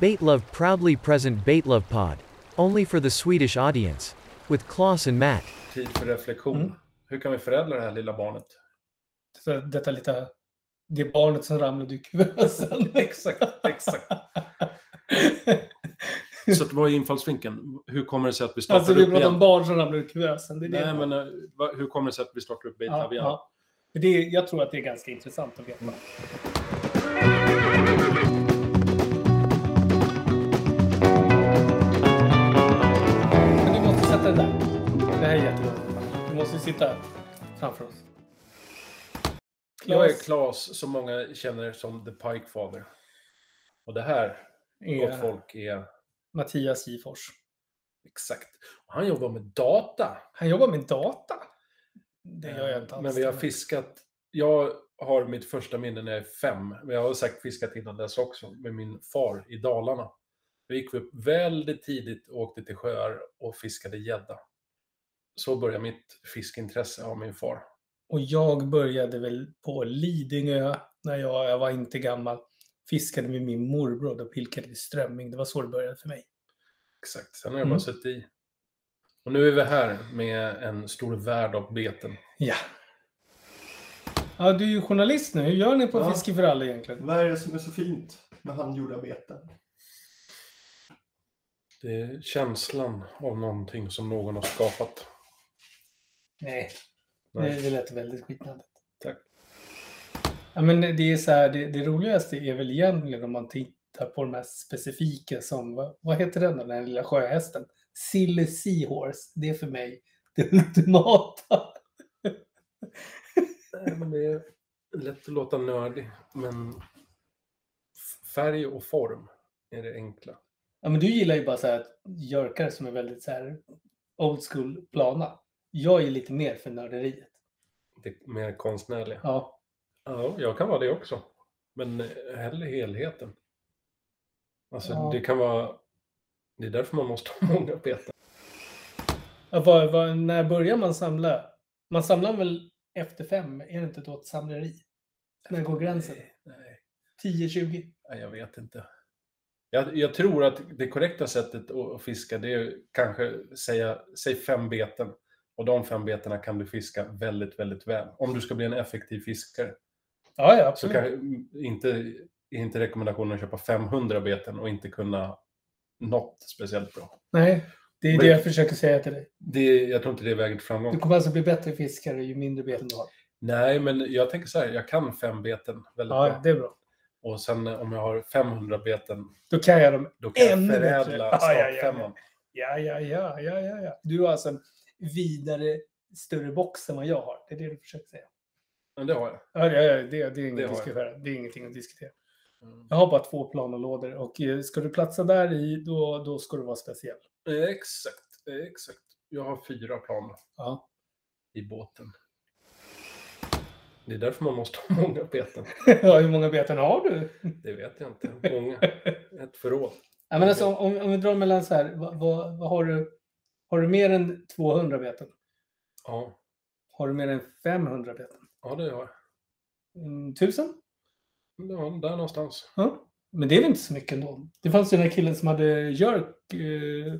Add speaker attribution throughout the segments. Speaker 1: Baitlove proudly present Baitlove Pod. Only for the Swedish audience. With Klaus and Matt.
Speaker 2: Tid för reflektion.
Speaker 3: Mm.
Speaker 2: Hur kan vi förädla det här lilla barnet?
Speaker 3: Så detta lite, det är barnet som ramlade ur kuvösen.
Speaker 2: Exakt, exakt.
Speaker 3: Alltså,
Speaker 2: Så att, vad är infallsvinkeln? Hur kommer det sig att vi startar
Speaker 3: alltså vi
Speaker 2: upp
Speaker 3: pratar
Speaker 2: igen?
Speaker 3: om barn som ramlar ur kuvösen. Det är det.
Speaker 2: Nej, men eh, va- hur kommer det sig att vi Mm. startar upp Baitlove
Speaker 3: ja,
Speaker 2: igen?
Speaker 3: ja. Men Det är, jag tror att det är ganska intressant att veta. Men du måste sätta den där. Det här är jätteroligt. Du måste sitta framför oss.
Speaker 2: Jag är
Speaker 3: Claes
Speaker 2: Claes, som många känner som The Pike Father. Och det här, gott folk, är
Speaker 3: Mattias Gifors.
Speaker 2: exakt. Och han jobbar med data.
Speaker 3: Han jobbar med data. Det gör jag inte alls.
Speaker 2: Eh, Men vi har fiskat. Jag har mitt första minne när jag är fem. Men jag har säkert fiskat innan dess också med min far i Dalarna. Då gick vi upp väldigt tidigt och åkte till sjöar och fiskade gädda. Så började mitt fiskintresse av min far.
Speaker 3: Och jag började väl på Lidingö när jag, jag var inte gammal. Fiskade med min morbror och pilkade i strömming. Det var så det började för mig.
Speaker 2: Exakt. Sen har jag bara
Speaker 3: Mm.
Speaker 2: suttit i. Och nu är vi här med en stor värld av beten.
Speaker 3: Ja. Ja, du är ju journalist nu. Hur gör ni på
Speaker 4: Ja.
Speaker 3: Fiske för alla egentligen?
Speaker 4: Vad är det som är så fint med handgjorda beten?
Speaker 2: Det är känslan av någonting som någon har skapat.
Speaker 3: Nej,
Speaker 2: Nej.
Speaker 3: det, det lät väldigt skitnödigt.
Speaker 2: Tack.
Speaker 3: Ja, men det, är så här, det, det roligaste är väl egentligen om man tittar på de här specifika som, vad, vad heter den då, den här lilla sjöhästen? Silly Seahorse. Det är för mig det ultimata.
Speaker 2: Nej, men det är lätt att låta nördig, men f- färg och form är det enkla.
Speaker 3: Ja, men du gillar ju bara så här att jörkar som är väldigt så här old school plana. Jag är lite mer för nörderiet.
Speaker 2: Det mer konstnärliga.
Speaker 3: Ja,
Speaker 2: Ja, jag kan vara det också. Men eh, hellre helheten. Alltså,
Speaker 3: Ja.
Speaker 2: det kan vara... Det är därför man måste ha många petar.
Speaker 3: Ja, vad- vad- när börjar man samla? Man samlar väl efter fem? Är det inte då ett samleri? När går gränsen?
Speaker 2: Nej,
Speaker 3: 10-20?
Speaker 2: nej, jag vet inte. Jag, jag tror att det korrekta sättet att att fiska det är kanske säga, säg fem beten. Och de fem betena kan du fiska väldigt, väldigt väl. Om du ska bli en effektiv fiskare.
Speaker 3: Ja, ja,
Speaker 2: Så
Speaker 3: absolut.
Speaker 2: kan, mm, inte, är inte rekommendationen att köpa 500 beten och inte kunna något speciellt bra.
Speaker 3: Nej, det är
Speaker 2: Men-
Speaker 3: det jag försöker säga till dig.
Speaker 2: Det, jag tror inte det är vägen till
Speaker 3: Du
Speaker 2: framgång.
Speaker 3: kommer alltså bli bättre fiskare ju mindre beten du har.
Speaker 2: Nej, men jag tänker så här, jag kan fem beten väldigt
Speaker 3: Ja,
Speaker 2: bra.
Speaker 3: det är bra.
Speaker 2: Och sen eh, om jag har 500 beten,
Speaker 3: Då kan jag dem.
Speaker 2: då kan
Speaker 3: Ännu
Speaker 2: jag
Speaker 3: bättre.
Speaker 2: förädla
Speaker 3: Ja, ja, ja,
Speaker 2: startfemman.
Speaker 3: Ja, ja, ja, ja, ja, ja. Du har alltså en vidare, större box än vad jag har. Det är det du försöker säga.
Speaker 2: Men det har jag.
Speaker 3: Ja, ja, ja det, det, är
Speaker 2: Det
Speaker 3: inget
Speaker 2: har
Speaker 3: att
Speaker 2: jag.
Speaker 3: diskutera. det är ingenting att diskutera.
Speaker 2: Mm.
Speaker 3: Jag har bara två planolådor och eh, ska du platsa där i, då, då ska du vara speciell.
Speaker 2: Eh, Exakt, eh, exakt. Jag har fyra plan
Speaker 3: Ja.
Speaker 2: i båten. Det är därför man måste ha många beten.
Speaker 3: ja, hur många beten har du?
Speaker 2: Det vet jag inte. Många. Ett förråd.
Speaker 3: Ja, men alltså, om, om vi drar mellan så här, vad, vad, vad har, du, har du mer än 200 beten?
Speaker 2: Ja,
Speaker 3: Har du mer än 500 beten?
Speaker 2: ja det har jag.
Speaker 3: Mm, 1000?
Speaker 2: Ja, där någonstans.
Speaker 3: Ja. Men det är väl inte så mycket ändå? Det fanns ju den här killen som hade Jörk. Eh,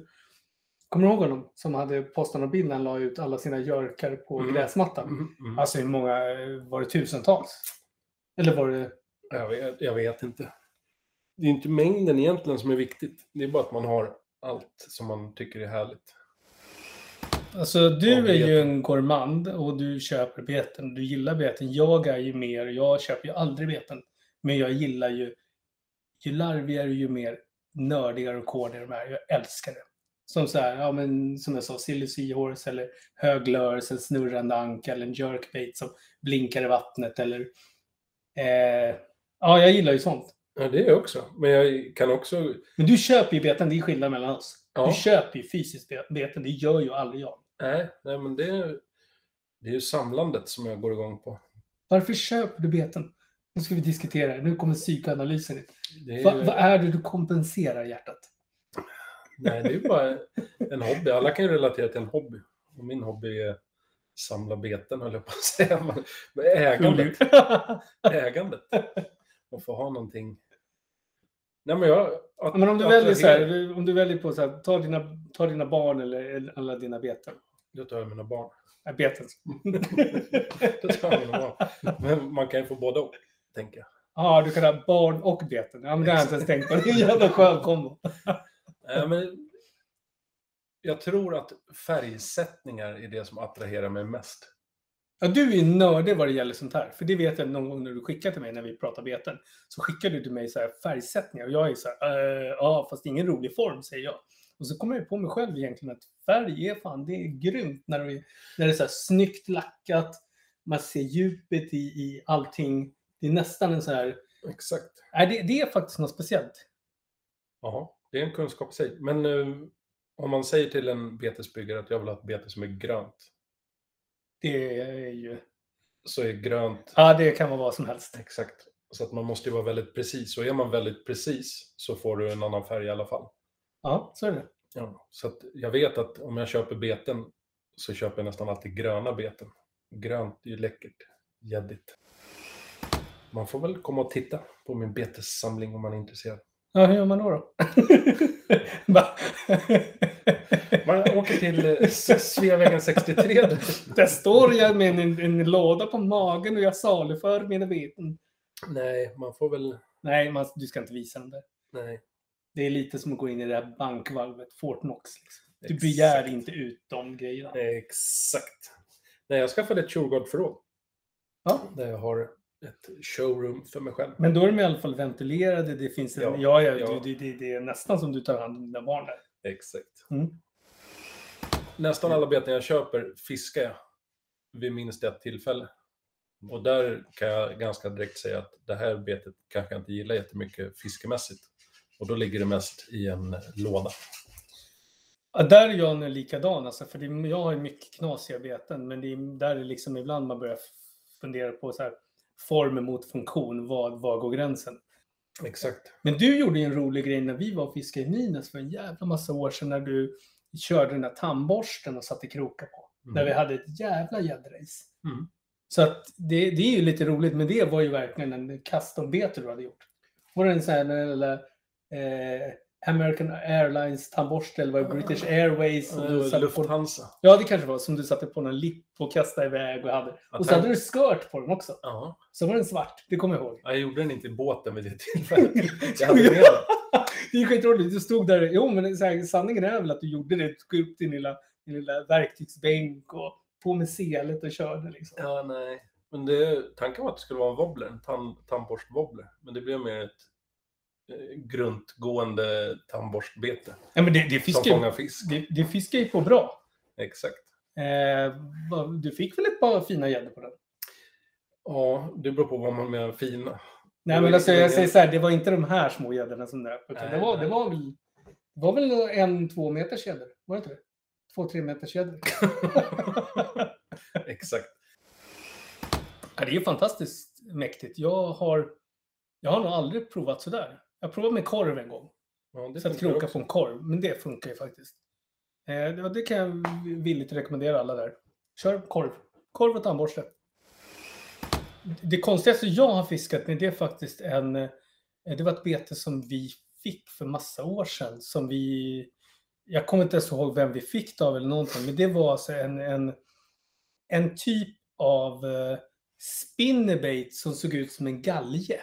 Speaker 3: kommer du ihåg honom? Som hade postat någon bild när han la ut alla sina Jörkar på
Speaker 2: Mm.
Speaker 3: gräsmattan.
Speaker 2: Mm, mm.
Speaker 3: Alltså hur många, eh, var det tusentals? Eller var det...
Speaker 2: Jag, vet, jag vet inte. Det är inte mängden egentligen som är viktigt. Det är bara att man har allt som man tycker är härligt.
Speaker 3: Alltså du
Speaker 2: Av
Speaker 3: är ju
Speaker 2: beten.
Speaker 3: en gourmand och du köper beten. Du gillar beten. Jag är ju mer, jag köper ju aldrig beten. Men jag gillar ju, ju larvigare ju mer nördigare och kodigare de är. Jag älskar det. Som så här, ja men som jag sa, silly seahorse eller höglörs, en snurrande anka eller en jerkbait som blinkar i vattnet eller... Eh, ja, jag gillar ju sånt.
Speaker 2: Ja, det är jag också. Men jag kan också...
Speaker 3: Men du köper ju beten, det är skillnad mellan oss.
Speaker 2: Ja.
Speaker 3: Du köper ju fysiskt be- beten, det gör ju aldrig jag.
Speaker 2: Nej, nej men det är, det är ju samlandet som jag går igång på.
Speaker 3: Varför köper du beten? Nu ska vi diskutera det. Nu kommer psykoanalysen in.
Speaker 2: Det är, ju-
Speaker 3: Va, vad är det du kompenserar hjärtat?
Speaker 2: Nej, det är ju bara en hobby. Alla kan ju relatera till en hobby. Och min hobby är samla beten, höll jag på att säga. Men- Men ägandet. ägandet. Och få ha någonting Nej, men jag... att-
Speaker 3: Ja, Men om du
Speaker 2: att
Speaker 3: väljer
Speaker 2: jag
Speaker 3: så här,
Speaker 2: helt-
Speaker 3: du- om du väljer på så här, ta dina, ta dina barn eller- eller alla dina beten.
Speaker 2: Då tar jag mina barn.
Speaker 3: Äh, beten.
Speaker 2: Då tar jag mina barn. Men man kan ju få både och, tänker jag.
Speaker 3: Ja, du kan ha barn och beten. Ja, men det har jag inte ens tänkt på. Det är en jävla skön kombo.
Speaker 2: Nej, Eh, men jag tror att färgsättningar är det som attraherar mig mest.
Speaker 3: Ja, du är nördig vad det gäller sånt här. För det vet jag någon gång när du skickade till mig när vi pratade beten. Så skickade du till mig så här färgsättningar och jag är så här, eh, ja fast ingen rolig form säger jag. Och så kommer jag på mig själv egentligen att färg är fan, det är grymt när det är, när det är så här snyggt lackat. Man ser djupet i, i allting. Det är nästan en så här,
Speaker 2: Exakt.
Speaker 3: nej det, det är faktiskt något speciellt.
Speaker 2: Ja, det är en kunskap i sig. Men eh, om man säger till en betesbyggare att jag vill ha ett bete som är grönt,
Speaker 3: Det är ju,
Speaker 2: så är grönt
Speaker 3: ja det kan vara vad som helst.
Speaker 2: exakt. Så att man måste ju vara väldigt precis. Och är man väldigt precis så får du en annan färg i alla fall.
Speaker 3: Ja, så är det.
Speaker 2: Ja, så att jag vet att om jag köper beten så köper jag nästan alltid gröna beten. Grönt är ju läckert. Gäddigt. Man får väl komma och titta på min betessamling om man är intresserad.
Speaker 3: Ja, hur gör man då? då? Bara-
Speaker 2: Man åker till eh, Sveavägen 63.
Speaker 3: Där står jag med en, en låda på magen och jag saluför mina veten.
Speaker 2: Nej, man får väl...
Speaker 3: Nej, man, du ska inte visa den där.
Speaker 2: Nej.
Speaker 3: Det är lite som att gå in i det här bankvalvet, Fortnox. Liksom. Du
Speaker 2: Exakt.
Speaker 3: begär inte ut de grejerna.
Speaker 2: Exakt. Nej, jag skaffade ett Tjurgårdsförråd.
Speaker 3: Ja.
Speaker 2: Där jag har ett showroom för mig själv.
Speaker 3: Men då är de i alla fall ventilerade. Det finns en,
Speaker 2: Ja,
Speaker 3: ja, ja,
Speaker 2: ja.
Speaker 3: Du, det, det, det är nästan som du tar hand om dina barn där.
Speaker 2: Exakt.
Speaker 3: Mm.
Speaker 2: Nästan alla beten jag köper fiskar jag vid minst ett tillfälle. Och där kan jag ganska direkt säga att det här betet kanske jag inte gillar jättemycket fiskemässigt. Och då ligger det mest i en låda.
Speaker 3: Ja, där är jag nu likadan. Alltså, för det, jag har ju mycket knasiga beten. Men det är, där är liksom ibland man börjar fundera på så här, form mot funktion. Var, var går gränsen?
Speaker 2: Exakt.
Speaker 3: Men du gjorde ju en rolig grej när vi var och fiskade i Nynäs för en jävla massa år sedan när du körde den där tandborsten och satte krokar på.
Speaker 2: Mm.
Speaker 3: När vi hade ett jävla gäddrace.
Speaker 2: Mm.
Speaker 3: Så att det, det är ju lite roligt, men det var ju verkligen en custombete du hade gjort. Var det en sån här eller, eh, American Airlines tandborste eller var det British Airways? som du
Speaker 2: Eh,
Speaker 3: satte på,
Speaker 2: Lufthansa.
Speaker 3: ja, det kanske var som du satte på någon lipp och kastade iväg och hade. Och så hade du skört på den också.
Speaker 2: Ja,
Speaker 3: Så var den svart, det kommer jag ihåg.
Speaker 2: jag gjorde den inte i båten vid det tillfället. Jag hade med den.
Speaker 3: Det är skitroligt. Du stod där. Jo, men så här, sanningen är väl att du gjorde det. Du tog upp din lilla, din lilla verktygsbänk och på med selet och körde liksom.
Speaker 2: Ja, nej. Men det, tanken var att det skulle vara en wobbler, en tand, tandborstwobbler. Men det blev mer ett eh, gruntgående tandborstbete
Speaker 3: Ja, men det, det
Speaker 2: som
Speaker 3: fiskar ju,
Speaker 2: fångar fisk.
Speaker 3: det, det fiskar ju på bra.
Speaker 2: Exakt.
Speaker 3: Eh, vad- du fick väl ett par fina gäddor på den?
Speaker 2: Ja, det beror på vad man menar fina. Det
Speaker 3: Nej,
Speaker 2: var
Speaker 3: men alltså,
Speaker 2: ingen-
Speaker 3: jag säger så här. Det var inte de här små gäddorna som nöp. Utan
Speaker 2: Nej,
Speaker 3: det, var,
Speaker 2: nej.
Speaker 3: det var väl, det var väl en två meters gäddor? Var det inte det? Två, tre meters gäddor.
Speaker 2: Exakt.
Speaker 3: Ja, det är ju fantastiskt mäktigt. Jag har, jag har nog aldrig provat sådär. Jag provade med korv en gång.
Speaker 2: Ja, det
Speaker 3: Så att
Speaker 2: funkar
Speaker 3: kroka
Speaker 2: också.
Speaker 3: på en korv. Men det funkar ju faktiskt. Eh, det, det kan jag villigt rekommendera alla där. Kör korv. Korv och tandborste. Det konstigaste jag har fiskat med det är faktiskt en... eh, Det var ett bete som vi fick för massa år sedan. Som vi... Jag kommer inte ens ihåg vem vi fick det av eller någonting. Men det var alltså en, en, en typ av eh, spinnerbait som såg ut som en galge.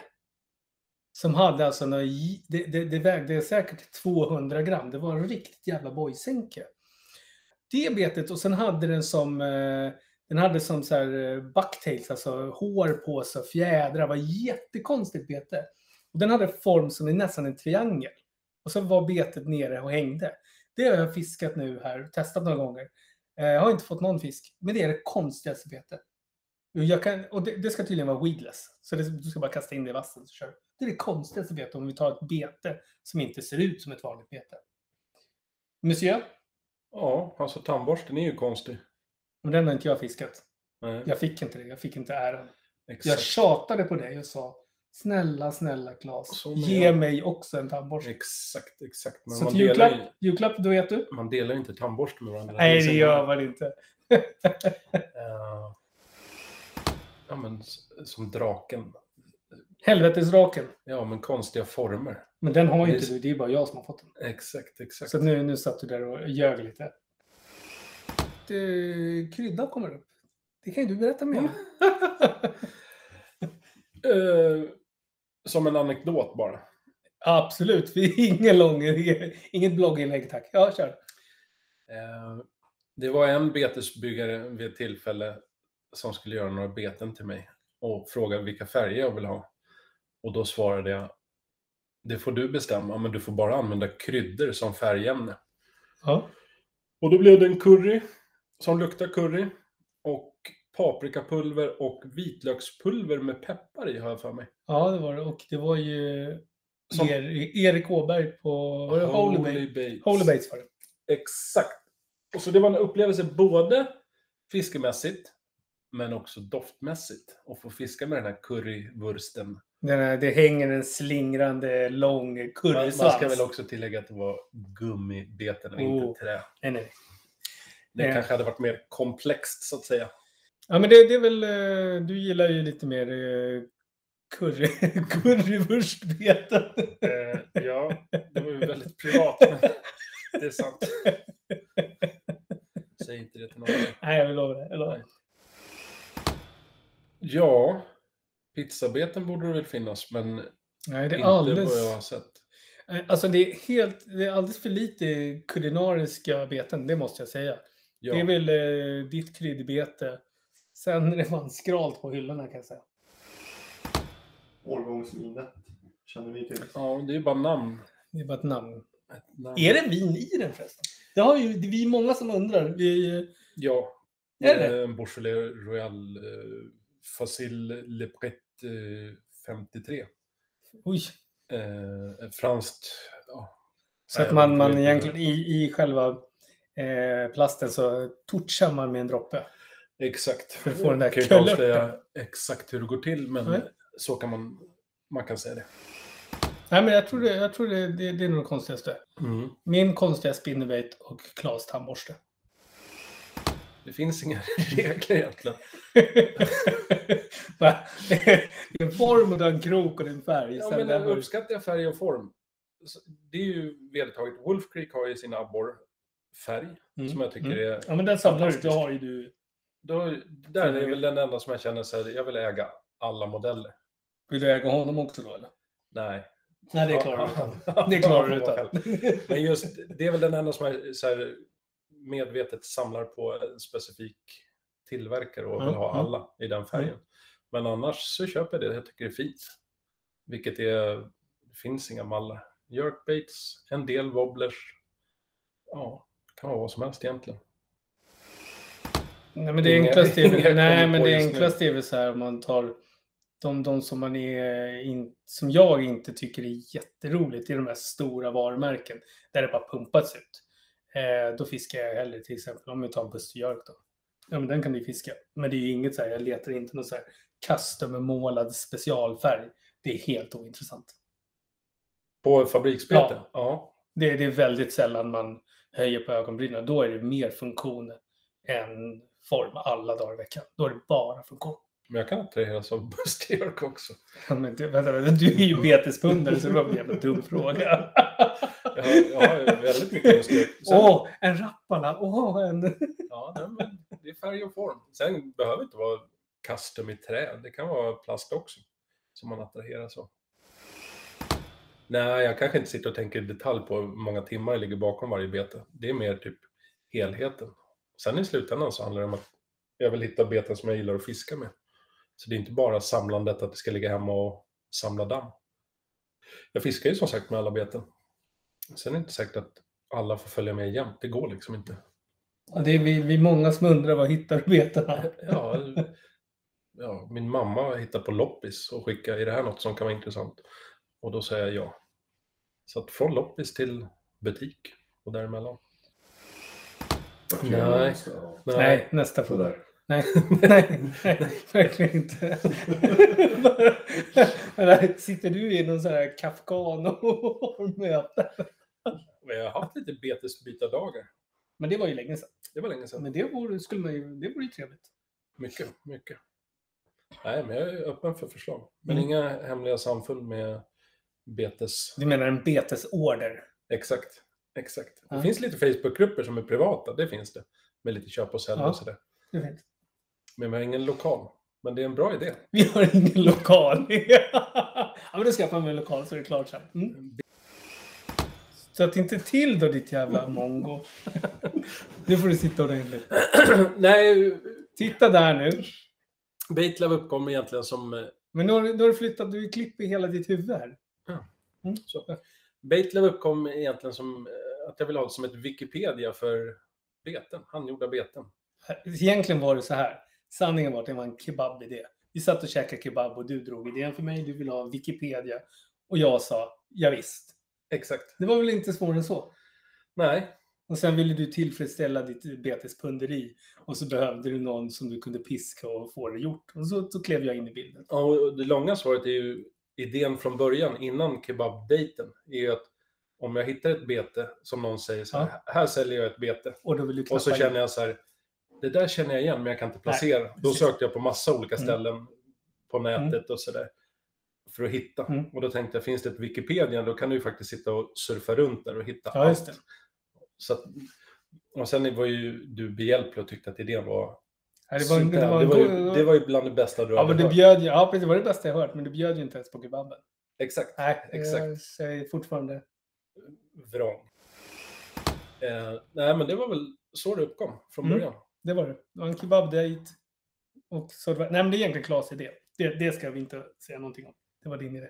Speaker 3: Som hade alltså, några j- det, det, det vägde säkert 200 gram. Det var en riktigt jävla bojsänke. Det betet och sen hade den som, eh, den hade som så här eh, bucktails, alltså hår på sig, fjädrar. Det var jättekonstigt bete. Och den hade form som är nästan en triangel. Och så var betet nere och hängde. Det har jag fiskat nu här, testat några gånger. Eh, Jag har inte fått någon fisk, men det är det konstigaste betet. Jo, Jag kan, och det, det ska tydligen vara weedless. Så det, du ska bara kasta in det i vassen så kör du. Det är det konstigaste betet om vi tar ett bete som inte ser ut som ett vanligt bete. Monsieur,
Speaker 2: Ja, alltså tandborsten är ju konstig.
Speaker 3: men den har inte jag fiskat.
Speaker 2: Nej,
Speaker 3: Jag fick inte det. Jag fick inte äran. Jag
Speaker 2: exakt.
Speaker 3: tjatade på dig och sa snälla, snälla Claes,
Speaker 2: Så menar
Speaker 3: ge
Speaker 2: jag.
Speaker 3: mig också en tandborste.
Speaker 2: Exakt, exakt. Men
Speaker 3: Så
Speaker 2: man
Speaker 3: till
Speaker 2: delar,
Speaker 3: julklapp,
Speaker 2: ju,
Speaker 3: julklapp, då vet du.
Speaker 2: man delar ju inte tandborsten med varandra.
Speaker 3: Nej, det gör man inte.
Speaker 2: Eh, Ja, men s- som draken
Speaker 3: Helvetesraken.
Speaker 2: Ja, men konstiga former.
Speaker 3: Men den har ju inte
Speaker 2: Just-
Speaker 3: du, det är bara jag som har fått den.
Speaker 2: Exakt, exakt.
Speaker 3: Så att nu, nu satt du där och ljög lite. Du, krydda kommer upp. Det kan ju du berätta mer om.
Speaker 2: Eh, som en anekdot bara.
Speaker 3: Absolut, vi är ingen lång, inget blogginlägg tack. Ja, kör.
Speaker 2: Eh, Det var en betesbyggare vid ett tillfälle som skulle göra några beten till mig och frågade vilka färger jag vill ha. Och då svarade jag, det får du bestämma, men du får bara använda kryddor som färgämne.
Speaker 3: Ja.
Speaker 2: Och då blev det en curry som luktar curry och paprikapulver och vitlökspulver med peppar i har jag för mig.
Speaker 3: ja, det var det. Och det var ju
Speaker 2: Som-
Speaker 3: er, Erik Åberg på var det Holy Bates.
Speaker 2: Bates.
Speaker 3: Holy Bates var det.
Speaker 2: Exakt. Och så det var en upplevelse både fiskemässigt men också doftmässigt. Att få fiska med den här currywursten.
Speaker 3: Den här, det hänger en slingrande lång
Speaker 2: Man, man ska
Speaker 3: kurresvans.
Speaker 2: väl också tillägga att det var gummibeten och
Speaker 3: Oh.
Speaker 2: inte trä.
Speaker 3: Nej, nej.
Speaker 2: Det
Speaker 3: Eh.
Speaker 2: kanske hade varit mer komplext så att säga.
Speaker 3: Ja, men det, det är väl... eh, Du gillar ju lite mer eh, curry, currywurstbeten.
Speaker 2: Eh, ja, det var ju väldigt privat. Men det är sant. Säg inte det till någon.
Speaker 3: Nej, jag lovar det. Jag lovar. det.
Speaker 2: Ja, pizzabeten borde det väl finnas men
Speaker 3: Nej, det är
Speaker 2: inte vad jag
Speaker 3: alldeles...
Speaker 2: har sett.
Speaker 3: Nej, Alltså, det är, helt, det är alldeles för lite kulinariska beten, det måste jag säga.
Speaker 2: Ja.
Speaker 3: Det är väl eh, ditt kryddbete. Sen är det fan skralt på hyllorna kan jag säga.
Speaker 4: Årgångsvinet känner vi till.
Speaker 2: Ja, det är ju bara namn.
Speaker 3: Det är bara ett namn.
Speaker 2: Ett namn.
Speaker 3: Är det vin i den förresten? Det har ju det är vi många som undrar. Vi, eh,
Speaker 2: Ja.
Speaker 3: Är det?
Speaker 2: Eh, En Beaujolais Royal eh, Facile Le Pret eh, 53.
Speaker 3: oj,
Speaker 2: Eh, ett franskt... Ja.
Speaker 3: så att
Speaker 2: Nej, jag
Speaker 3: man,
Speaker 2: vet
Speaker 3: man
Speaker 2: inte.
Speaker 3: egentligen i, i själva eh, plasten så touchar man med en droppe.
Speaker 2: Exakt.
Speaker 3: För att få den där
Speaker 2: Jag kan ju inte
Speaker 3: klörten.
Speaker 2: avslöja exakt hur det går till, men
Speaker 3: Nej.
Speaker 2: så kan man, man kan säga det.
Speaker 3: Nej, men jag tror, det, jag tror det, det, det är nog det konstigaste.
Speaker 2: Mm.
Speaker 3: Min konstiga spinnerbait och Klas tandborste.
Speaker 2: Det finns inga regler egentligen.
Speaker 3: Va? det är en form och det är en krok och det är en färg.
Speaker 2: Ja,
Speaker 3: Sen
Speaker 2: men
Speaker 3: där var det-
Speaker 2: uppskattar jag färg och form. Så Det är ju vedertaget. Wolf Creek har ju sin abborrfärg,
Speaker 3: Mm,
Speaker 2: som jag tycker
Speaker 3: mm.
Speaker 2: är
Speaker 3: ja, men den samlar du. Det
Speaker 2: Fantastiskt.
Speaker 3: har ju du.
Speaker 2: Då, där är väl den enda som jag känner så här, jag vill äga alla modeller.
Speaker 3: Vill du äga honom också då eller?
Speaker 2: Nej.
Speaker 3: Nej, det
Speaker 2: Ja,
Speaker 3: klarar du utan.
Speaker 2: ja,
Speaker 3: Det klarar du
Speaker 2: ja,
Speaker 3: utan.
Speaker 2: Men just, det är väl den enda som jag så här, medvetet samlar på en specifik tillverkare och vill
Speaker 3: Mm,
Speaker 2: ha
Speaker 3: mm.
Speaker 2: alla i den färgen. Men annars så köper jag det, jag tycker det är fint. Vilket är, det finns inga mallar. Jerkbaits, en del wobblers. Ja, det kan vara vad som helst egentligen.
Speaker 3: Nej men det
Speaker 2: Inga-
Speaker 3: enklaste är
Speaker 2: inga
Speaker 3: väl,
Speaker 2: kommer
Speaker 3: nej,
Speaker 2: på
Speaker 3: men det
Speaker 2: just nu.
Speaker 3: enklaste är väl så här om man tar de, de som, man är in, som jag inte tycker är jätteroligt, det är de här stora varumärken där det bara pumpats ut. Eh, då fiskar jag hellre till exempel om vi tar en Busterjörk då. Ja men den kan du fiska. Men det är ju inget så här, jag letar inte någon så här custom-målad specialfärg. Det är helt ointressant.
Speaker 2: På fabriksbeten?
Speaker 3: Ja.
Speaker 2: ja.
Speaker 3: Det, det är väldigt sällan man höjer på ögonbrynen. Då är det mer funktion än form alla dagar i veckan. Då är det bara funktion.
Speaker 2: Men jag kan attraheras av Buster Jerk också.
Speaker 3: Ja, Men du, vänta, vänta, du är ju betespundare så det var en jävla dum fråga.
Speaker 2: Jag har, jag har ju väldigt mycket Buster Jerk. Sen-
Speaker 3: Åh, en Rappala! Åh, en...
Speaker 2: Ja, nej, men det är färg och form. Sen behöver det inte vara custom i trä. Det kan vara plast också. Som man attraheras av. Nej, jag kanske inte sitter och tänker i detalj på hur många timmar det ligger bakom varje bete. Det är mer typ helheten. Sen i slutändan så handlar det om att jag vill hitta beten som jag gillar att fiska med. Så det är inte bara samlandet att det ska ligga hemma och samla damm. Jag fiskar ju som sagt med alla beten. Sen är det inte säkert att alla får följa med jämt. Det går liksom inte.
Speaker 3: Ja, det är vi, vi är många som undrar var hittar du betarna?
Speaker 2: Ja, ja, min mamma hittar på loppis och skickar, är det här något som kan vara intressant? Och då säger jag ja. Så att från loppis till butik och däremellan. Nej.
Speaker 4: Så-
Speaker 3: Nej, nästa fråga.
Speaker 4: Sådär.
Speaker 3: Nej, nej, nej, verkligen inte. Men där Sitter du i någon sån här Kafkano och har möte?
Speaker 2: Men jag har haft lite betesbytardagar.
Speaker 3: Men det var ju länge sedan.
Speaker 2: Det var länge sedan.
Speaker 3: Men det vore, skulle man ju, det vore ju trevligt.
Speaker 2: Mycket, mycket. Nej, men jag är öppen för förslag. Men
Speaker 3: Mm.
Speaker 2: inga hemliga samfund med betes.
Speaker 3: Du menar en betesorder?
Speaker 2: Exakt. Exakt. Det
Speaker 3: Ja.
Speaker 2: finns lite Facebookgrupper som är privata, det finns det. Med lite köp och sälj
Speaker 3: Ja.
Speaker 2: och sådär.
Speaker 3: Det vet.
Speaker 2: Men vi har ingen lokal. Men det är en bra idé.
Speaker 3: Vi har ingen lokal. ja, men då skaffar vi en lokal så är det klart sen. Mm. Så att inte till då ditt jävla mongo. nu får du sitta ordentligt.
Speaker 2: Nej,
Speaker 3: Titta där nu.
Speaker 2: Baitlove uppkom egentligen som... eh,
Speaker 3: Men nu har, du- nu har du flyttat, du klipper hela ditt huvud här.
Speaker 2: Så, Baitlove uppkom egentligen som eh, att jag vill ha det som ett Wikipedia för beten, handgjorda beten.
Speaker 3: Egentligen var det så här. Sanningen var att det var en kebabidé. Vi satt och käkade kebab och du drog idén för mig. Du ville ha Wikipedia. Och jag sa, ja, visst.
Speaker 2: Exakt.
Speaker 3: Det var väl inte svårare än så.
Speaker 2: Nej,
Speaker 3: Och sen ville du tillfredsställa ditt betespunderi. Och så behövde du någon som du kunde piska och få det gjort. Och så, så klev jag in i bilden.
Speaker 2: och det långa svaret är ju idén från början innan kebabdejten är ju att om jag hittar ett bete som någon säger så här, här säljer jag ett bete.
Speaker 3: Och då ville du
Speaker 2: Och så
Speaker 3: knappa in.
Speaker 2: känner jag så här, det där känner jag igen men jag kan inte placera. Då
Speaker 3: precis.
Speaker 2: sökte jag på massa olika
Speaker 3: Mm.
Speaker 2: ställen på nätet och sådär. För att hitta.
Speaker 3: Mm.
Speaker 2: Och då tänkte jag, finns det ett Wikipedia då kan du ju faktiskt sitta och surfa runt där och hitta
Speaker 3: Ja, just det.
Speaker 2: Så att, och sen var ju du behjälplig och tyckte att idén var...
Speaker 3: Nej, Det var,
Speaker 2: super.
Speaker 3: det var,
Speaker 2: det, var ju,
Speaker 3: god-
Speaker 2: det var ju bland det bästa du
Speaker 3: Ja, men
Speaker 2: hade
Speaker 3: det
Speaker 2: hört.
Speaker 3: bjöd ju, ja, precis, det var det bästa jag hört, men det bjöd ju inte ens på kebaben.
Speaker 2: Exakt.
Speaker 3: Nej,
Speaker 2: Exakt.
Speaker 3: jag säger fortfarande.
Speaker 2: Vrång. Eh, nej, men det var väl så det uppkom från
Speaker 3: Mm.
Speaker 2: början.
Speaker 3: Det var det. Det var en kebabdejt. Och så det var, nej, men det är egentligen Klas idé. Det, det ska vi inte säga någonting om. Det var din idé.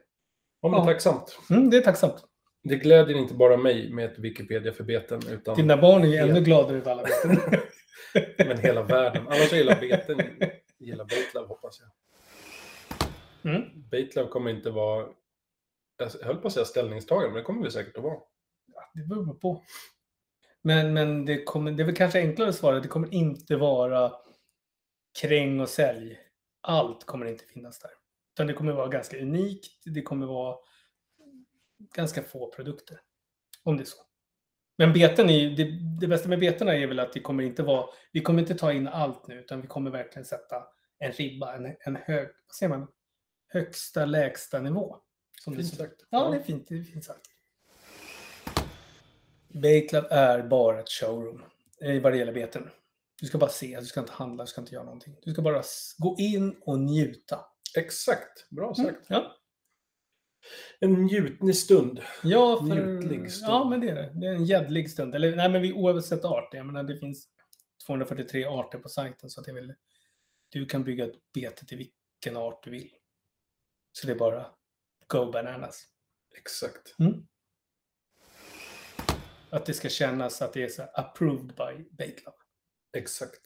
Speaker 2: Ja, men
Speaker 3: Ja.
Speaker 2: tacksamt.
Speaker 3: Mm, det är tacksamt.
Speaker 2: Det gläder inte bara mig med ett Wikipedia för beten, utan
Speaker 3: Dina barn är ju ännu
Speaker 2: Ja.
Speaker 3: gladare utav alla beten.
Speaker 2: men hela världen. Alla som gillar beten gillar Baitlove, hoppas jag.
Speaker 3: Mm.
Speaker 2: Baitlove kommer inte vara... alltså, Jag höll på att säga ställningstagande, men det kommer vi säkert att vara.
Speaker 3: Det beror på. Men, men det, kommer, det är väl kanske enklare att svara. Det kommer inte vara kräng och sälj. Allt kommer inte finnas där. Utan det kommer vara ganska unikt. Det kommer vara ganska få produkter. Om det är så. Men beten är ju, det, det bästa med betena är väl att det kommer inte vara, vi kommer inte ta in allt nu utan vi kommer verkligen sätta en ribba, en, en hög, vad säger man, högsta lägsta nivå. Som det
Speaker 2: Fint
Speaker 3: så-
Speaker 2: sagt.
Speaker 3: Ja, det är fint. Det är fint sagt. Baitlab är bara ett showroom eh, vad det gäller beten. Du ska bara se, du ska inte handla, du ska inte göra någonting. Du ska bara s- gå in och njuta.
Speaker 2: Exakt. Bra sagt.
Speaker 3: Mm. Ja.
Speaker 2: En njutnig stund.
Speaker 3: Ja, för,
Speaker 2: Njutlig stund.
Speaker 3: ja, men det är det. Det är en jädlig stund. Eller, nej, men vi, oavsett art. Jag menar, det finns 243 arter på sajten. Så att jag vill, du kan bygga ett bete till vilken art du vill. Så det är bara go bananas.
Speaker 2: Exakt.
Speaker 3: Att det ska kännas att det är så här, approved by Baitlab.
Speaker 2: Exakt.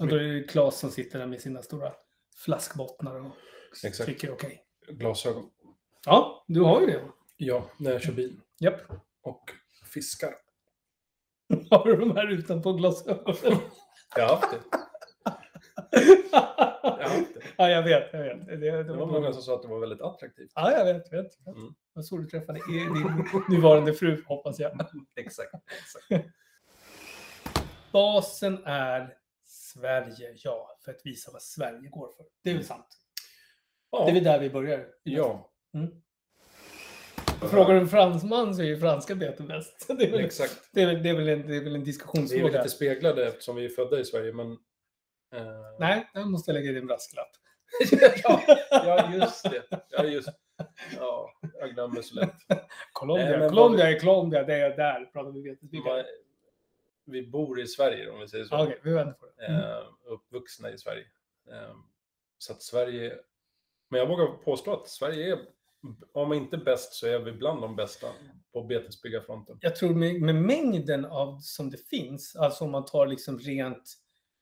Speaker 3: Och då är det Claes som sitter där med sina stora flaskbottnar och
Speaker 2: Exakt.
Speaker 3: tycker okej.
Speaker 2: Glasögon.
Speaker 3: Ja, du har ju det.
Speaker 2: Ja, när jag kör bil.
Speaker 3: Japp.
Speaker 2: Och fiskar.
Speaker 3: Har du de här utanpå glasögonen?
Speaker 2: Jag har haft det. Jag har
Speaker 3: ja,
Speaker 2: haft det.
Speaker 3: jag vet. Jag vet. Det, det
Speaker 2: det
Speaker 3: var
Speaker 2: var
Speaker 3: många
Speaker 2: många som sa att det var väldigt attraktivt.
Speaker 3: Ja, jag vet. vet, vet.
Speaker 2: Mm.
Speaker 3: Det var så du träffade er, din nuvarande fru, hoppas jag.
Speaker 2: Exakt. exakt.
Speaker 3: Basen är Sverige, ja. För att visa vad Sverige går för. Det är väl
Speaker 2: Mm.
Speaker 3: sant? Det är väl
Speaker 2: Ja.
Speaker 3: där vi börjar?
Speaker 2: ja. Mm.
Speaker 3: Frågar du en fransman så är ju franska beten bäst. Det är väl,
Speaker 2: Exakt.
Speaker 3: det är väl, det är väl, en, det är väl en
Speaker 2: Vi är
Speaker 3: diskussionsfråga.
Speaker 2: väl lite speglade eftersom vi är födda i Sverige, men... eh,
Speaker 3: Nej, där måste jag lägga in en brasklapp.
Speaker 2: ja, ja, just det. Ja, just Ja, jag glömmer så lätt.
Speaker 3: Colombia,
Speaker 2: Nej, men
Speaker 3: Colombia är Colombia, det är där pratar vi
Speaker 2: Man,
Speaker 3: vetenskap.
Speaker 2: vi bor i Sverige, om vi säger så.
Speaker 3: Okej, vi vänder på det. Mm.
Speaker 2: eh, uppvuxna i Sverige. Eh, så att Sverige, men jag vågar påstå att Sverige är, om inte bäst så är vi bland de bästa på betesbyggarfronten.
Speaker 3: Jag tror med, med mängden av som det finns, alltså om man tar liksom rent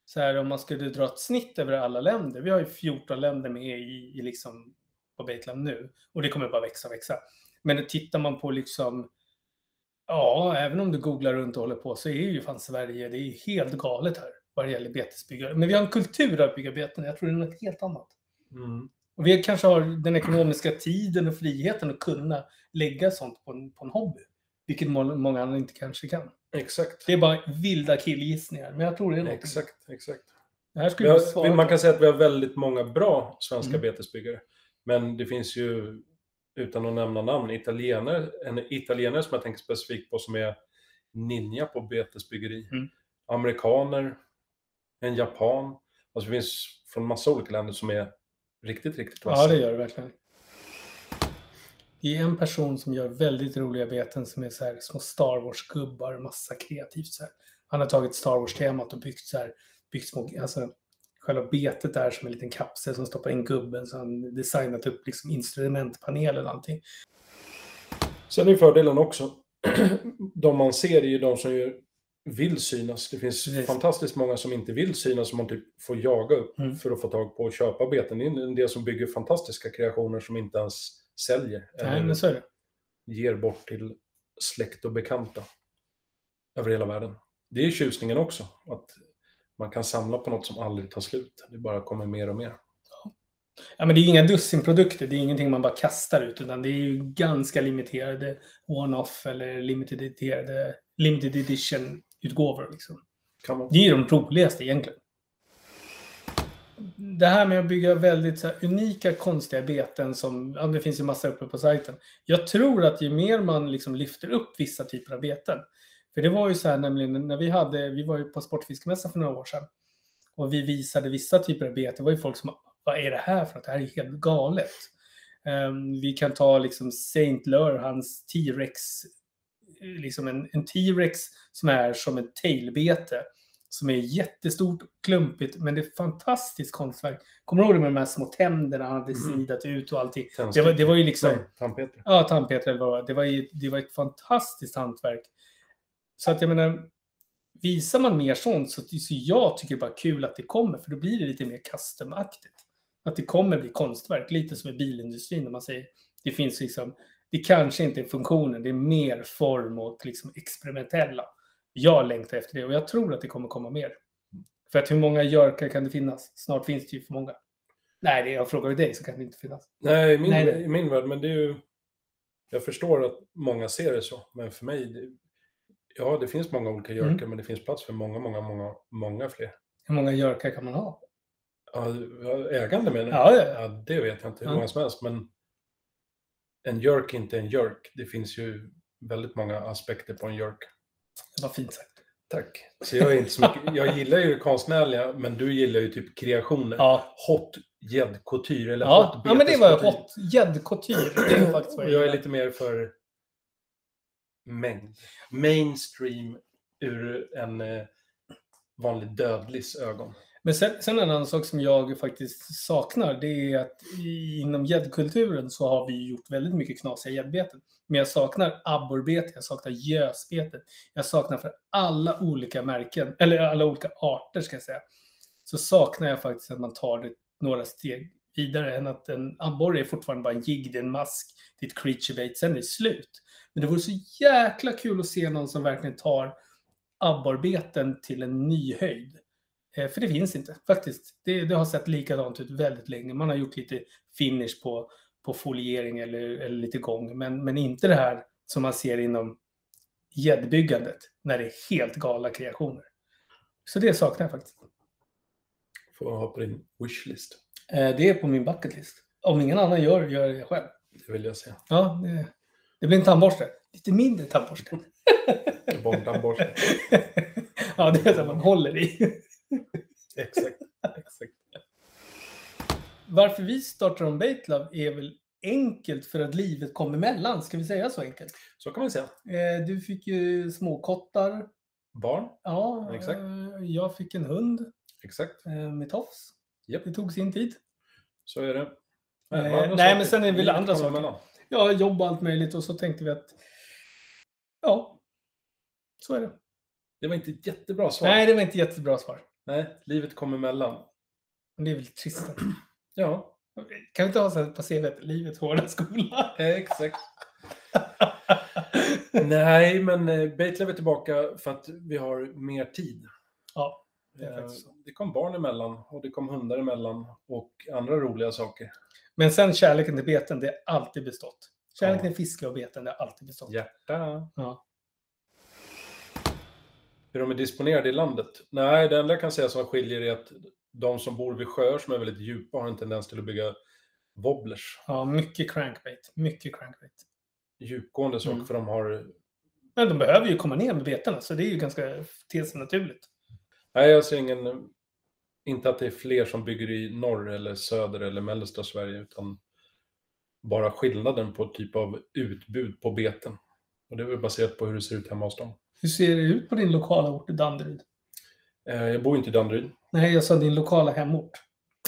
Speaker 3: så här om man skulle dra ett snitt över alla länder. Vi har ju 14 länder med E i, i liksom på Baitland nu och det kommer bara växa och växa. Men tittar man på liksom Ja, även om du googlar runt och håller på så är ju fan Sverige, det är ju helt galet här vad det gäller betesbyggare. Men vi har en kultur av byggarbeten, jag tror det är något helt annat. Och vi kanske har den ekonomiska tiden och friheten att kunna lägga sånt på en, på en hobby. Vilket må- många andra inte kanske kan.
Speaker 2: Exakt,
Speaker 3: Det är bara vilda killgissningar, men jag tror det är något.
Speaker 2: exakt, exakt.
Speaker 3: Det här skulle
Speaker 2: Vi
Speaker 3: jag
Speaker 2: har, vi-
Speaker 3: svara
Speaker 2: man
Speaker 3: på.
Speaker 2: kan säga att vi har väldigt många bra svenska
Speaker 3: Mm.
Speaker 2: betesbyggare. Men det finns ju, utan att nämna namn, italienare, en italienare som jag tänker specifikt på som är ninja på betesbyggeri.
Speaker 3: Mm.
Speaker 2: Amerikaner, en japan. Alltså det finns från massa olika länder som är riktigt, riktigt vassa.
Speaker 3: Ja, det gör det verkligen. Det är en person som gör väldigt roliga beten som är så här små Star Wars-gubbar, massa kreativt så här. Han har tagit Star Wars-temat och byggt så här, byggt små, alltså själva betet där som en liten kapsel som stoppar in gubben så han designat upp liksom instrumentpanel eller någonting.
Speaker 2: Sen är fördelen också, de man ser är ju de som ju vill synas. Det finns
Speaker 3: Precis.
Speaker 2: fantastiskt många som inte vill synas som man typ får jaga upp
Speaker 3: Mm.
Speaker 2: för att få tag på och köpa beten. Det är en del som bygger fantastiska kreationer som inte ens säljer
Speaker 3: Nej,
Speaker 2: eller
Speaker 3: men så är det.
Speaker 2: ger bort till släkt och bekanta över hela världen. Det är tjusningen också, att man kan samla på något som aldrig tar slut. Det bara kommer mer och mer.
Speaker 3: Ja, men det är inga dussinprodukter, det är ingenting man bara kastar ut, utan det är ju ganska limiterade one-off eller limited, editerade- limited edition-utgåvor. Liksom.
Speaker 2: Kan man...
Speaker 3: Det är ju de roligaste egentligen. Det här med att bygga väldigt så här, unika konstiga beten som, ja, det finns ju massa uppe på sajten. Jag tror att ju mer man liksom lyfter upp vissa typer av beten. För det var ju så här nämligen när vi hade, vi var ju på Sportfiskemässan för några år sedan. Och vi visade vissa typer av beten. Det var ju folk som, vad är det här för något? Det här är ju helt galet. Ehm, vi kan ta liksom Saint Lör, hans T-Rex, eh, liksom en, en T-Rex som är som ett tailbete som är jättestort och klumpigt, men det är ett fantastiskt konstverk. Kommer du ihåg det med de här små tänderna han hade
Speaker 2: Mm.
Speaker 3: snidat ut och allting? Det var, det var ju liksom...
Speaker 2: Nej, tandpetare.
Speaker 3: Ja, tandpetare eller vad det var. Det var, ju, det var ett fantastiskt hantverk. Så att jag menar, visar man mer sånt så, så jag tycker bara kul att det kommer, för då blir det lite mer custom-aktigt. Att det kommer bli konstverk, lite som i bilindustrin när man säger det finns liksom, det kanske inte är funktionen, det är mer form och liksom experimentella. Jag längtar efter det och jag tror att det kommer komma mer. För att hur många Jörkar kan det finnas? Snart finns det ju för många. Nej, det jag frågar dig så kan det inte finnas.
Speaker 2: Nej, i min,
Speaker 3: Nej, det-
Speaker 2: i min värld, men det är ju... Jag förstår att många ser det så, men för mig... Det, ja, det finns många olika
Speaker 3: Mm.
Speaker 2: jörkar, men det finns plats för många, många, många, många fler.
Speaker 3: Hur många Jörkar kan man ha?
Speaker 2: Ja, ja, ägande menar
Speaker 3: Ja, ja, ja.
Speaker 2: ja, det vet jag inte hur
Speaker 3: Ja.
Speaker 2: många som helst, men... En jörk är inte en jörk. Det finns ju väldigt många aspekter på en jörk.
Speaker 3: Vad fint sagt.
Speaker 2: Tack. Så jag, är inte så mycket, jag gillar ju det konstnärliga, men du gillar ju typ kreationer.
Speaker 3: Ja,
Speaker 2: Hot gäddkoutyr eller
Speaker 3: ja.
Speaker 2: hot
Speaker 3: ja men det var
Speaker 2: betescouture.
Speaker 3: hot. Gäddkoutyr. Det är faktiskt vad
Speaker 2: Och
Speaker 3: jag
Speaker 2: jag är
Speaker 3: gillar.
Speaker 2: lite mer för mängd. Mainstream ur en eh, vanlig dödligs ögon.
Speaker 3: Men sen, sen en annan sak som jag faktiskt saknar, det är att i, inom gäddkulturen så har vi gjort väldigt mycket knasiga gäddbeten. Men jag saknar abborrbete, jag saknar gösbetet, jag saknar för alla olika märken, eller alla olika arter ska jag säga. Så saknar jag faktiskt att man tar det några steg vidare än att en abborre är fortfarande bara en jigg, det är en mask, det är ett creature bait, sen är det slut. Men det vore så jäkla kul att se någon som verkligen tar abborrbeten till en ny höjd. Eh, För det finns inte, faktiskt. Det, det har sett likadant ut väldigt länge. Man har gjort lite finish på, på foliering eller, eller lite gång, men, men inte det här som man ser inom gäddbyggandet, när det är helt galna kreationer. Så det saknar jag faktiskt.
Speaker 2: Får jag ha på din wishlist.
Speaker 3: Eh, Det är på min bucketlist. Om ingen annan gör gör jag det själv.
Speaker 2: Det vill jag se.
Speaker 3: Ja, det, det blir en tandborste. Lite mindre tandborste.
Speaker 2: Barntandborste.
Speaker 3: ja, det är så man håller i.
Speaker 2: Exakt. Exakt.
Speaker 3: Varför vi startar om Baitlove är väl enkelt för att livet kom emellan. Ska vi säga så enkelt?
Speaker 2: Så kan man säga.
Speaker 3: Eh, Du fick ju småkottar.
Speaker 2: Barn.
Speaker 3: Ja,
Speaker 2: Exakt.
Speaker 3: eh, jag fick en hund
Speaker 2: Exakt.
Speaker 3: eh, med tofs.
Speaker 2: Japp.
Speaker 3: Det tog sin tid.
Speaker 2: Så är det. Äh,
Speaker 3: Eh,
Speaker 2: vad andra
Speaker 3: nej,
Speaker 2: saker?
Speaker 3: men sen är det väl
Speaker 2: Livet
Speaker 3: andra
Speaker 2: kommer
Speaker 3: saker.
Speaker 2: emellan.
Speaker 3: Ja, jobb och allt möjligt och så tänkte vi att ja, så är det.
Speaker 2: Det var inte ett jättebra svar.
Speaker 3: Nej, det var inte jättebra svar.
Speaker 2: Nej, livet kommer emellan.
Speaker 3: Men det är väl trist.
Speaker 2: Ja,
Speaker 3: Kan vi inte ha så här på CV, livets hårda skola?
Speaker 2: eh, exakt. Nej, men eh, Bejtlev är tillbaka för att vi har mer tid.
Speaker 3: Ja, det är
Speaker 2: Eh,
Speaker 3: faktiskt så.
Speaker 2: Det kom barn emellan och det kom hundar emellan och andra roliga saker.
Speaker 3: Men sen kärleken till beten, det har alltid bestått. Kärleken
Speaker 2: Ja.
Speaker 3: till fiske och beten, det har alltid bestått.
Speaker 2: Hjärta.
Speaker 3: Ja.
Speaker 2: Hur de är disponerade i landet? Nej, det enda jag kan säga som skiljer är att de som bor vid sjöar som är väldigt djupa har en tendens till att bygga wobblers,
Speaker 3: Ja, mycket crankbait. Mycket crankbait.
Speaker 2: djupgående saker,
Speaker 3: Mm.
Speaker 2: för de har...
Speaker 3: Men de behöver ju komma ner med betarna, så det är ju ganska till sig naturligt.
Speaker 2: Nej, jag ser ingen... Inte att det är fler som bygger i norr eller söder eller mellersta Sverige, utan bara skillnaden på typ av utbud på beten. Och det är väl baserat på hur det ser ut hemma hos dem.
Speaker 3: Hur ser det ut på din lokala ort i Danderyd?
Speaker 2: Eh, Jag bor ju inte i Danderyd.
Speaker 3: Nej, jag sa din lokala hemort.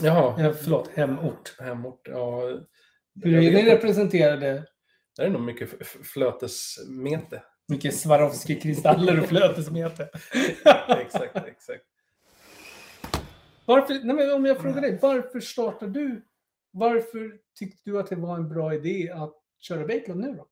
Speaker 2: Jaha,
Speaker 3: Eh, förlåt, hemort.
Speaker 2: hemort. Ja,
Speaker 3: Hur
Speaker 2: jag
Speaker 3: är
Speaker 2: vet
Speaker 3: ni
Speaker 2: inte.
Speaker 3: representerade?
Speaker 2: Det är nog mycket f- f- flötesmete.
Speaker 3: Mycket Swarovski-kristaller och flötesmete.
Speaker 2: exakt, exakt.
Speaker 3: Varför, nej men om jag frågar dig, varför startade du? Varför tyckte du att det var en bra idé att köra Baitlab nu då?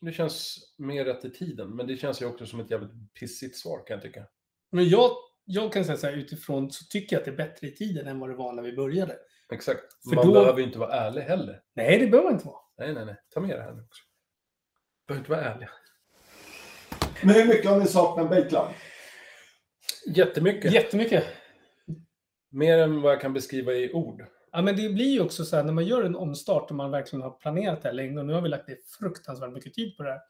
Speaker 2: Det känns mer rätt i tiden, men det känns ju också som ett jävligt pissigt svar kan jag tycka.
Speaker 3: Men jag, jag kan säga så här utifrån så tycker jag att det är bättre i tiden än vad det var när vi började.
Speaker 2: Exakt.
Speaker 3: För
Speaker 2: Man
Speaker 3: då-
Speaker 2: behöver ju inte vara ärlig heller.
Speaker 3: Nej, det behöver inte vara.
Speaker 2: Nej, nej, nej. Ta med det här nu också. Behöver inte vara ärlig.
Speaker 4: Men hur mycket har ni saknat Baitland?
Speaker 2: Jättemycket.
Speaker 3: Jättemycket.
Speaker 2: Mer än vad jag kan beskriva i ord.
Speaker 3: Ja, men det blir ju också så här när man gör en omstart och man verkligen har planerat det här länge och nu har vi lagt ner fruktansvärt mycket tid på det här.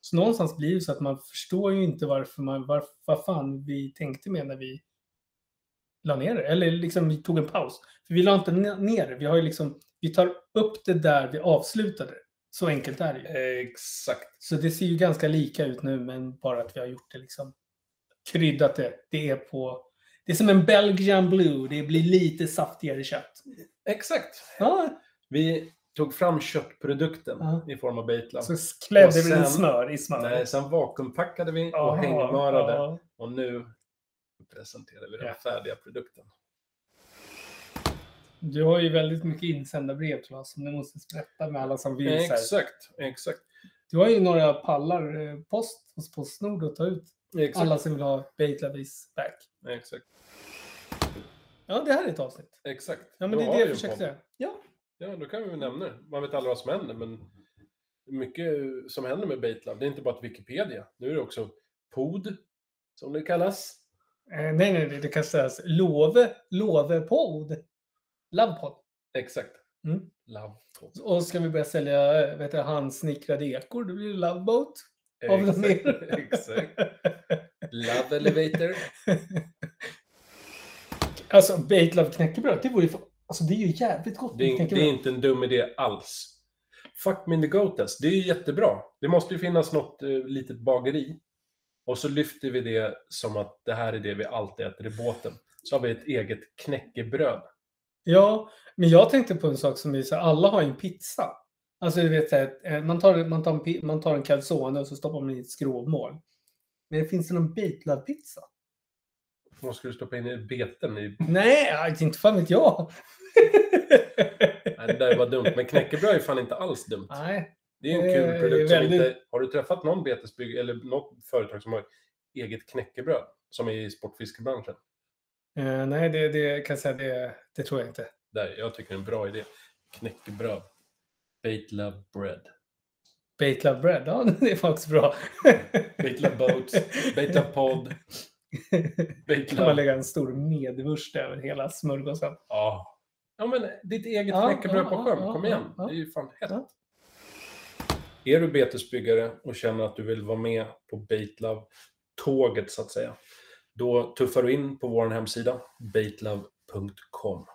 Speaker 3: Så någonstans blir det så att man förstår ju inte varför man, var, vad fan vi tänkte med när vi la ner det. Eller liksom vi tog en paus. För vi la inte ne- ner det. Vi har ju liksom, vi tar upp det där vi avslutade. Så enkelt är det ju.
Speaker 2: Exakt.
Speaker 3: Så det ser ju ganska lika ut nu men bara att vi har gjort det liksom kryddat det. Det är på, det är som en Belgian blue. Det blir lite saftigare kött.
Speaker 2: Exakt.
Speaker 3: Ja,
Speaker 2: Vi tog fram köttprodukten
Speaker 3: Ja.
Speaker 2: i form av Baitlab.
Speaker 3: Så klädde
Speaker 2: Och sen-
Speaker 3: vi den i smör i smör.
Speaker 2: Nej, sen vakuumpackade vi och
Speaker 3: Ja,
Speaker 2: hängmörade.
Speaker 3: ja.
Speaker 2: Och nu presenterar vi den
Speaker 3: Ja.
Speaker 2: färdiga produkten.
Speaker 3: Du har ju väldigt mycket insändarbrev till oss som du måste sprätta med alla som vill. så här.
Speaker 2: Exakt, exakt.
Speaker 3: Du har ju några pallar eh, post hos Postnord att ta ut.
Speaker 2: Exakt.
Speaker 3: Alla som vill ha Baitlabis back.
Speaker 2: Exakt.
Speaker 3: Ja, det här är ett avsnitt.
Speaker 2: exakt.
Speaker 3: Ja, men
Speaker 2: Då
Speaker 3: det är
Speaker 2: har
Speaker 3: det
Speaker 2: vi
Speaker 3: jag
Speaker 2: en
Speaker 3: försökte
Speaker 2: podd.
Speaker 3: säga. Ja.
Speaker 2: Ja, då kan vi väl nämna det. Man vet aldrig vad som händer, men mycket som händer med Baitlab, det är inte bara att Wikipedia. Nu är det också POD, som det kallas.
Speaker 3: Eh, nej, nej, det, det kan sägas Love, Lovepodd. Lovepodd.
Speaker 2: Exakt.
Speaker 3: Mm.
Speaker 2: Love pod.
Speaker 3: Och ska vi börja sälja eh, vet du, handsnickrade ekor, då blir det Loveboat. Av de
Speaker 2: Exakt, exakt. Love elevator.
Speaker 3: Alltså, Baitlove knäckebröd, det vore ju... fa- Alltså, det är ju jävligt gott
Speaker 2: Det
Speaker 3: med
Speaker 2: är, in- det är inte en dum idé alls. Fuck me in the goat test. Det är ju jättebra. Det måste ju finnas något eh, litet bageri. Och så lyfter vi det som att det här är det vi alltid äter i båten. Så har vi ett eget knäckebröd.
Speaker 3: Ja, men jag tänkte på en sak som är så här, alla har ju en pizza. Alltså du vet, så här, eh, man tar, man tar, en, pi- man tar en calzone och så stoppar man i ett skrovmål. Men finns det någon Baitlove-pizza?
Speaker 2: Vad ska du stoppa in i beten? I...
Speaker 3: Nej, aj, inte fan vet jag.
Speaker 2: Nej, det där var dumt. Men knäckebröd är fan inte alls dumt.
Speaker 3: Nej,
Speaker 2: Det är ju
Speaker 3: det
Speaker 2: en kul
Speaker 3: är
Speaker 2: produkt. Som
Speaker 3: väldigt-
Speaker 2: inte... Har du träffat någon betesbygg eller något företag som har eget knäckebröd? Som är i sportfiskebranschen.
Speaker 3: Eh, nej det, det kan jag säga, det, det tror jag inte.
Speaker 2: Där, jag tycker det är en bra idé. Knäckebröd. Baitlove bread.
Speaker 3: Baitlove bread, ja det är faktiskt bra.
Speaker 2: Baitlove boats. Baitlove podd.
Speaker 3: kan man
Speaker 2: Baitlove.
Speaker 3: lägga en stor medvurst över hela smörgåsen.
Speaker 2: Ja. ja, men ditt eget
Speaker 3: Ja,
Speaker 2: knäckebröd
Speaker 3: ja,
Speaker 2: på
Speaker 3: ja,
Speaker 2: sjön.
Speaker 3: ja,
Speaker 2: Kom
Speaker 3: ja,
Speaker 2: igen.
Speaker 3: ja.
Speaker 2: Det är ju fan hett.
Speaker 3: Ja.
Speaker 2: Är du betesbyggare och känner att du vill vara med på Baitlove-tåget så att säga. Då tuffar du in på vår hemsida, baitlove.com.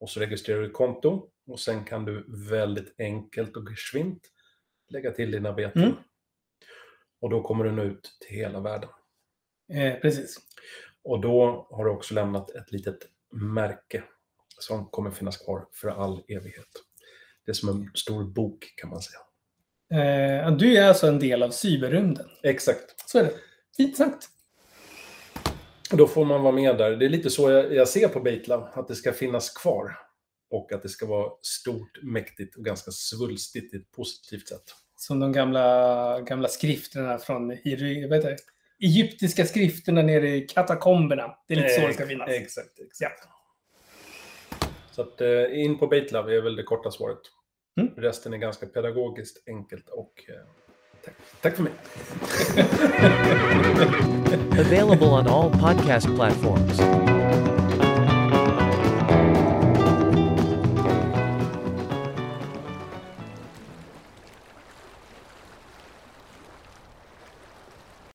Speaker 2: Och så registrerar du ett konto och sen kan du väldigt enkelt och geschwint lägga till dina beten.
Speaker 3: Mm.
Speaker 2: Och då kommer den ut till hela världen.
Speaker 3: Eh, precis.
Speaker 2: Och då har du också lämnat ett litet märke som kommer finnas kvar för all evighet. Det är som en stor bok kan man säga.
Speaker 3: Eh, du är alltså en del av cyberrymden.
Speaker 2: Exakt.
Speaker 3: Så är det. Fint sagt.
Speaker 2: Och Då får man vara med där. Det är lite så jag, jag ser på Baitlab, att det ska finnas kvar. Och att det ska vara stort, mäktigt och ganska svulstigt i ett positivt sätt.
Speaker 3: Som de gamla, gamla skrifterna från Iry- vad heter det? egyptiska skrifterna nere i katakomberna. Det är lite så det ska
Speaker 2: Ex-
Speaker 3: finnas.
Speaker 2: Eh, Exakt. exakt. Så att, eh, in på Baitlab är väl det korta svaret.
Speaker 3: Mm.
Speaker 2: Resten är ganska pedagogiskt, enkelt och... eh, Tack, tack för mig.
Speaker 1: Available on all podcast platforms.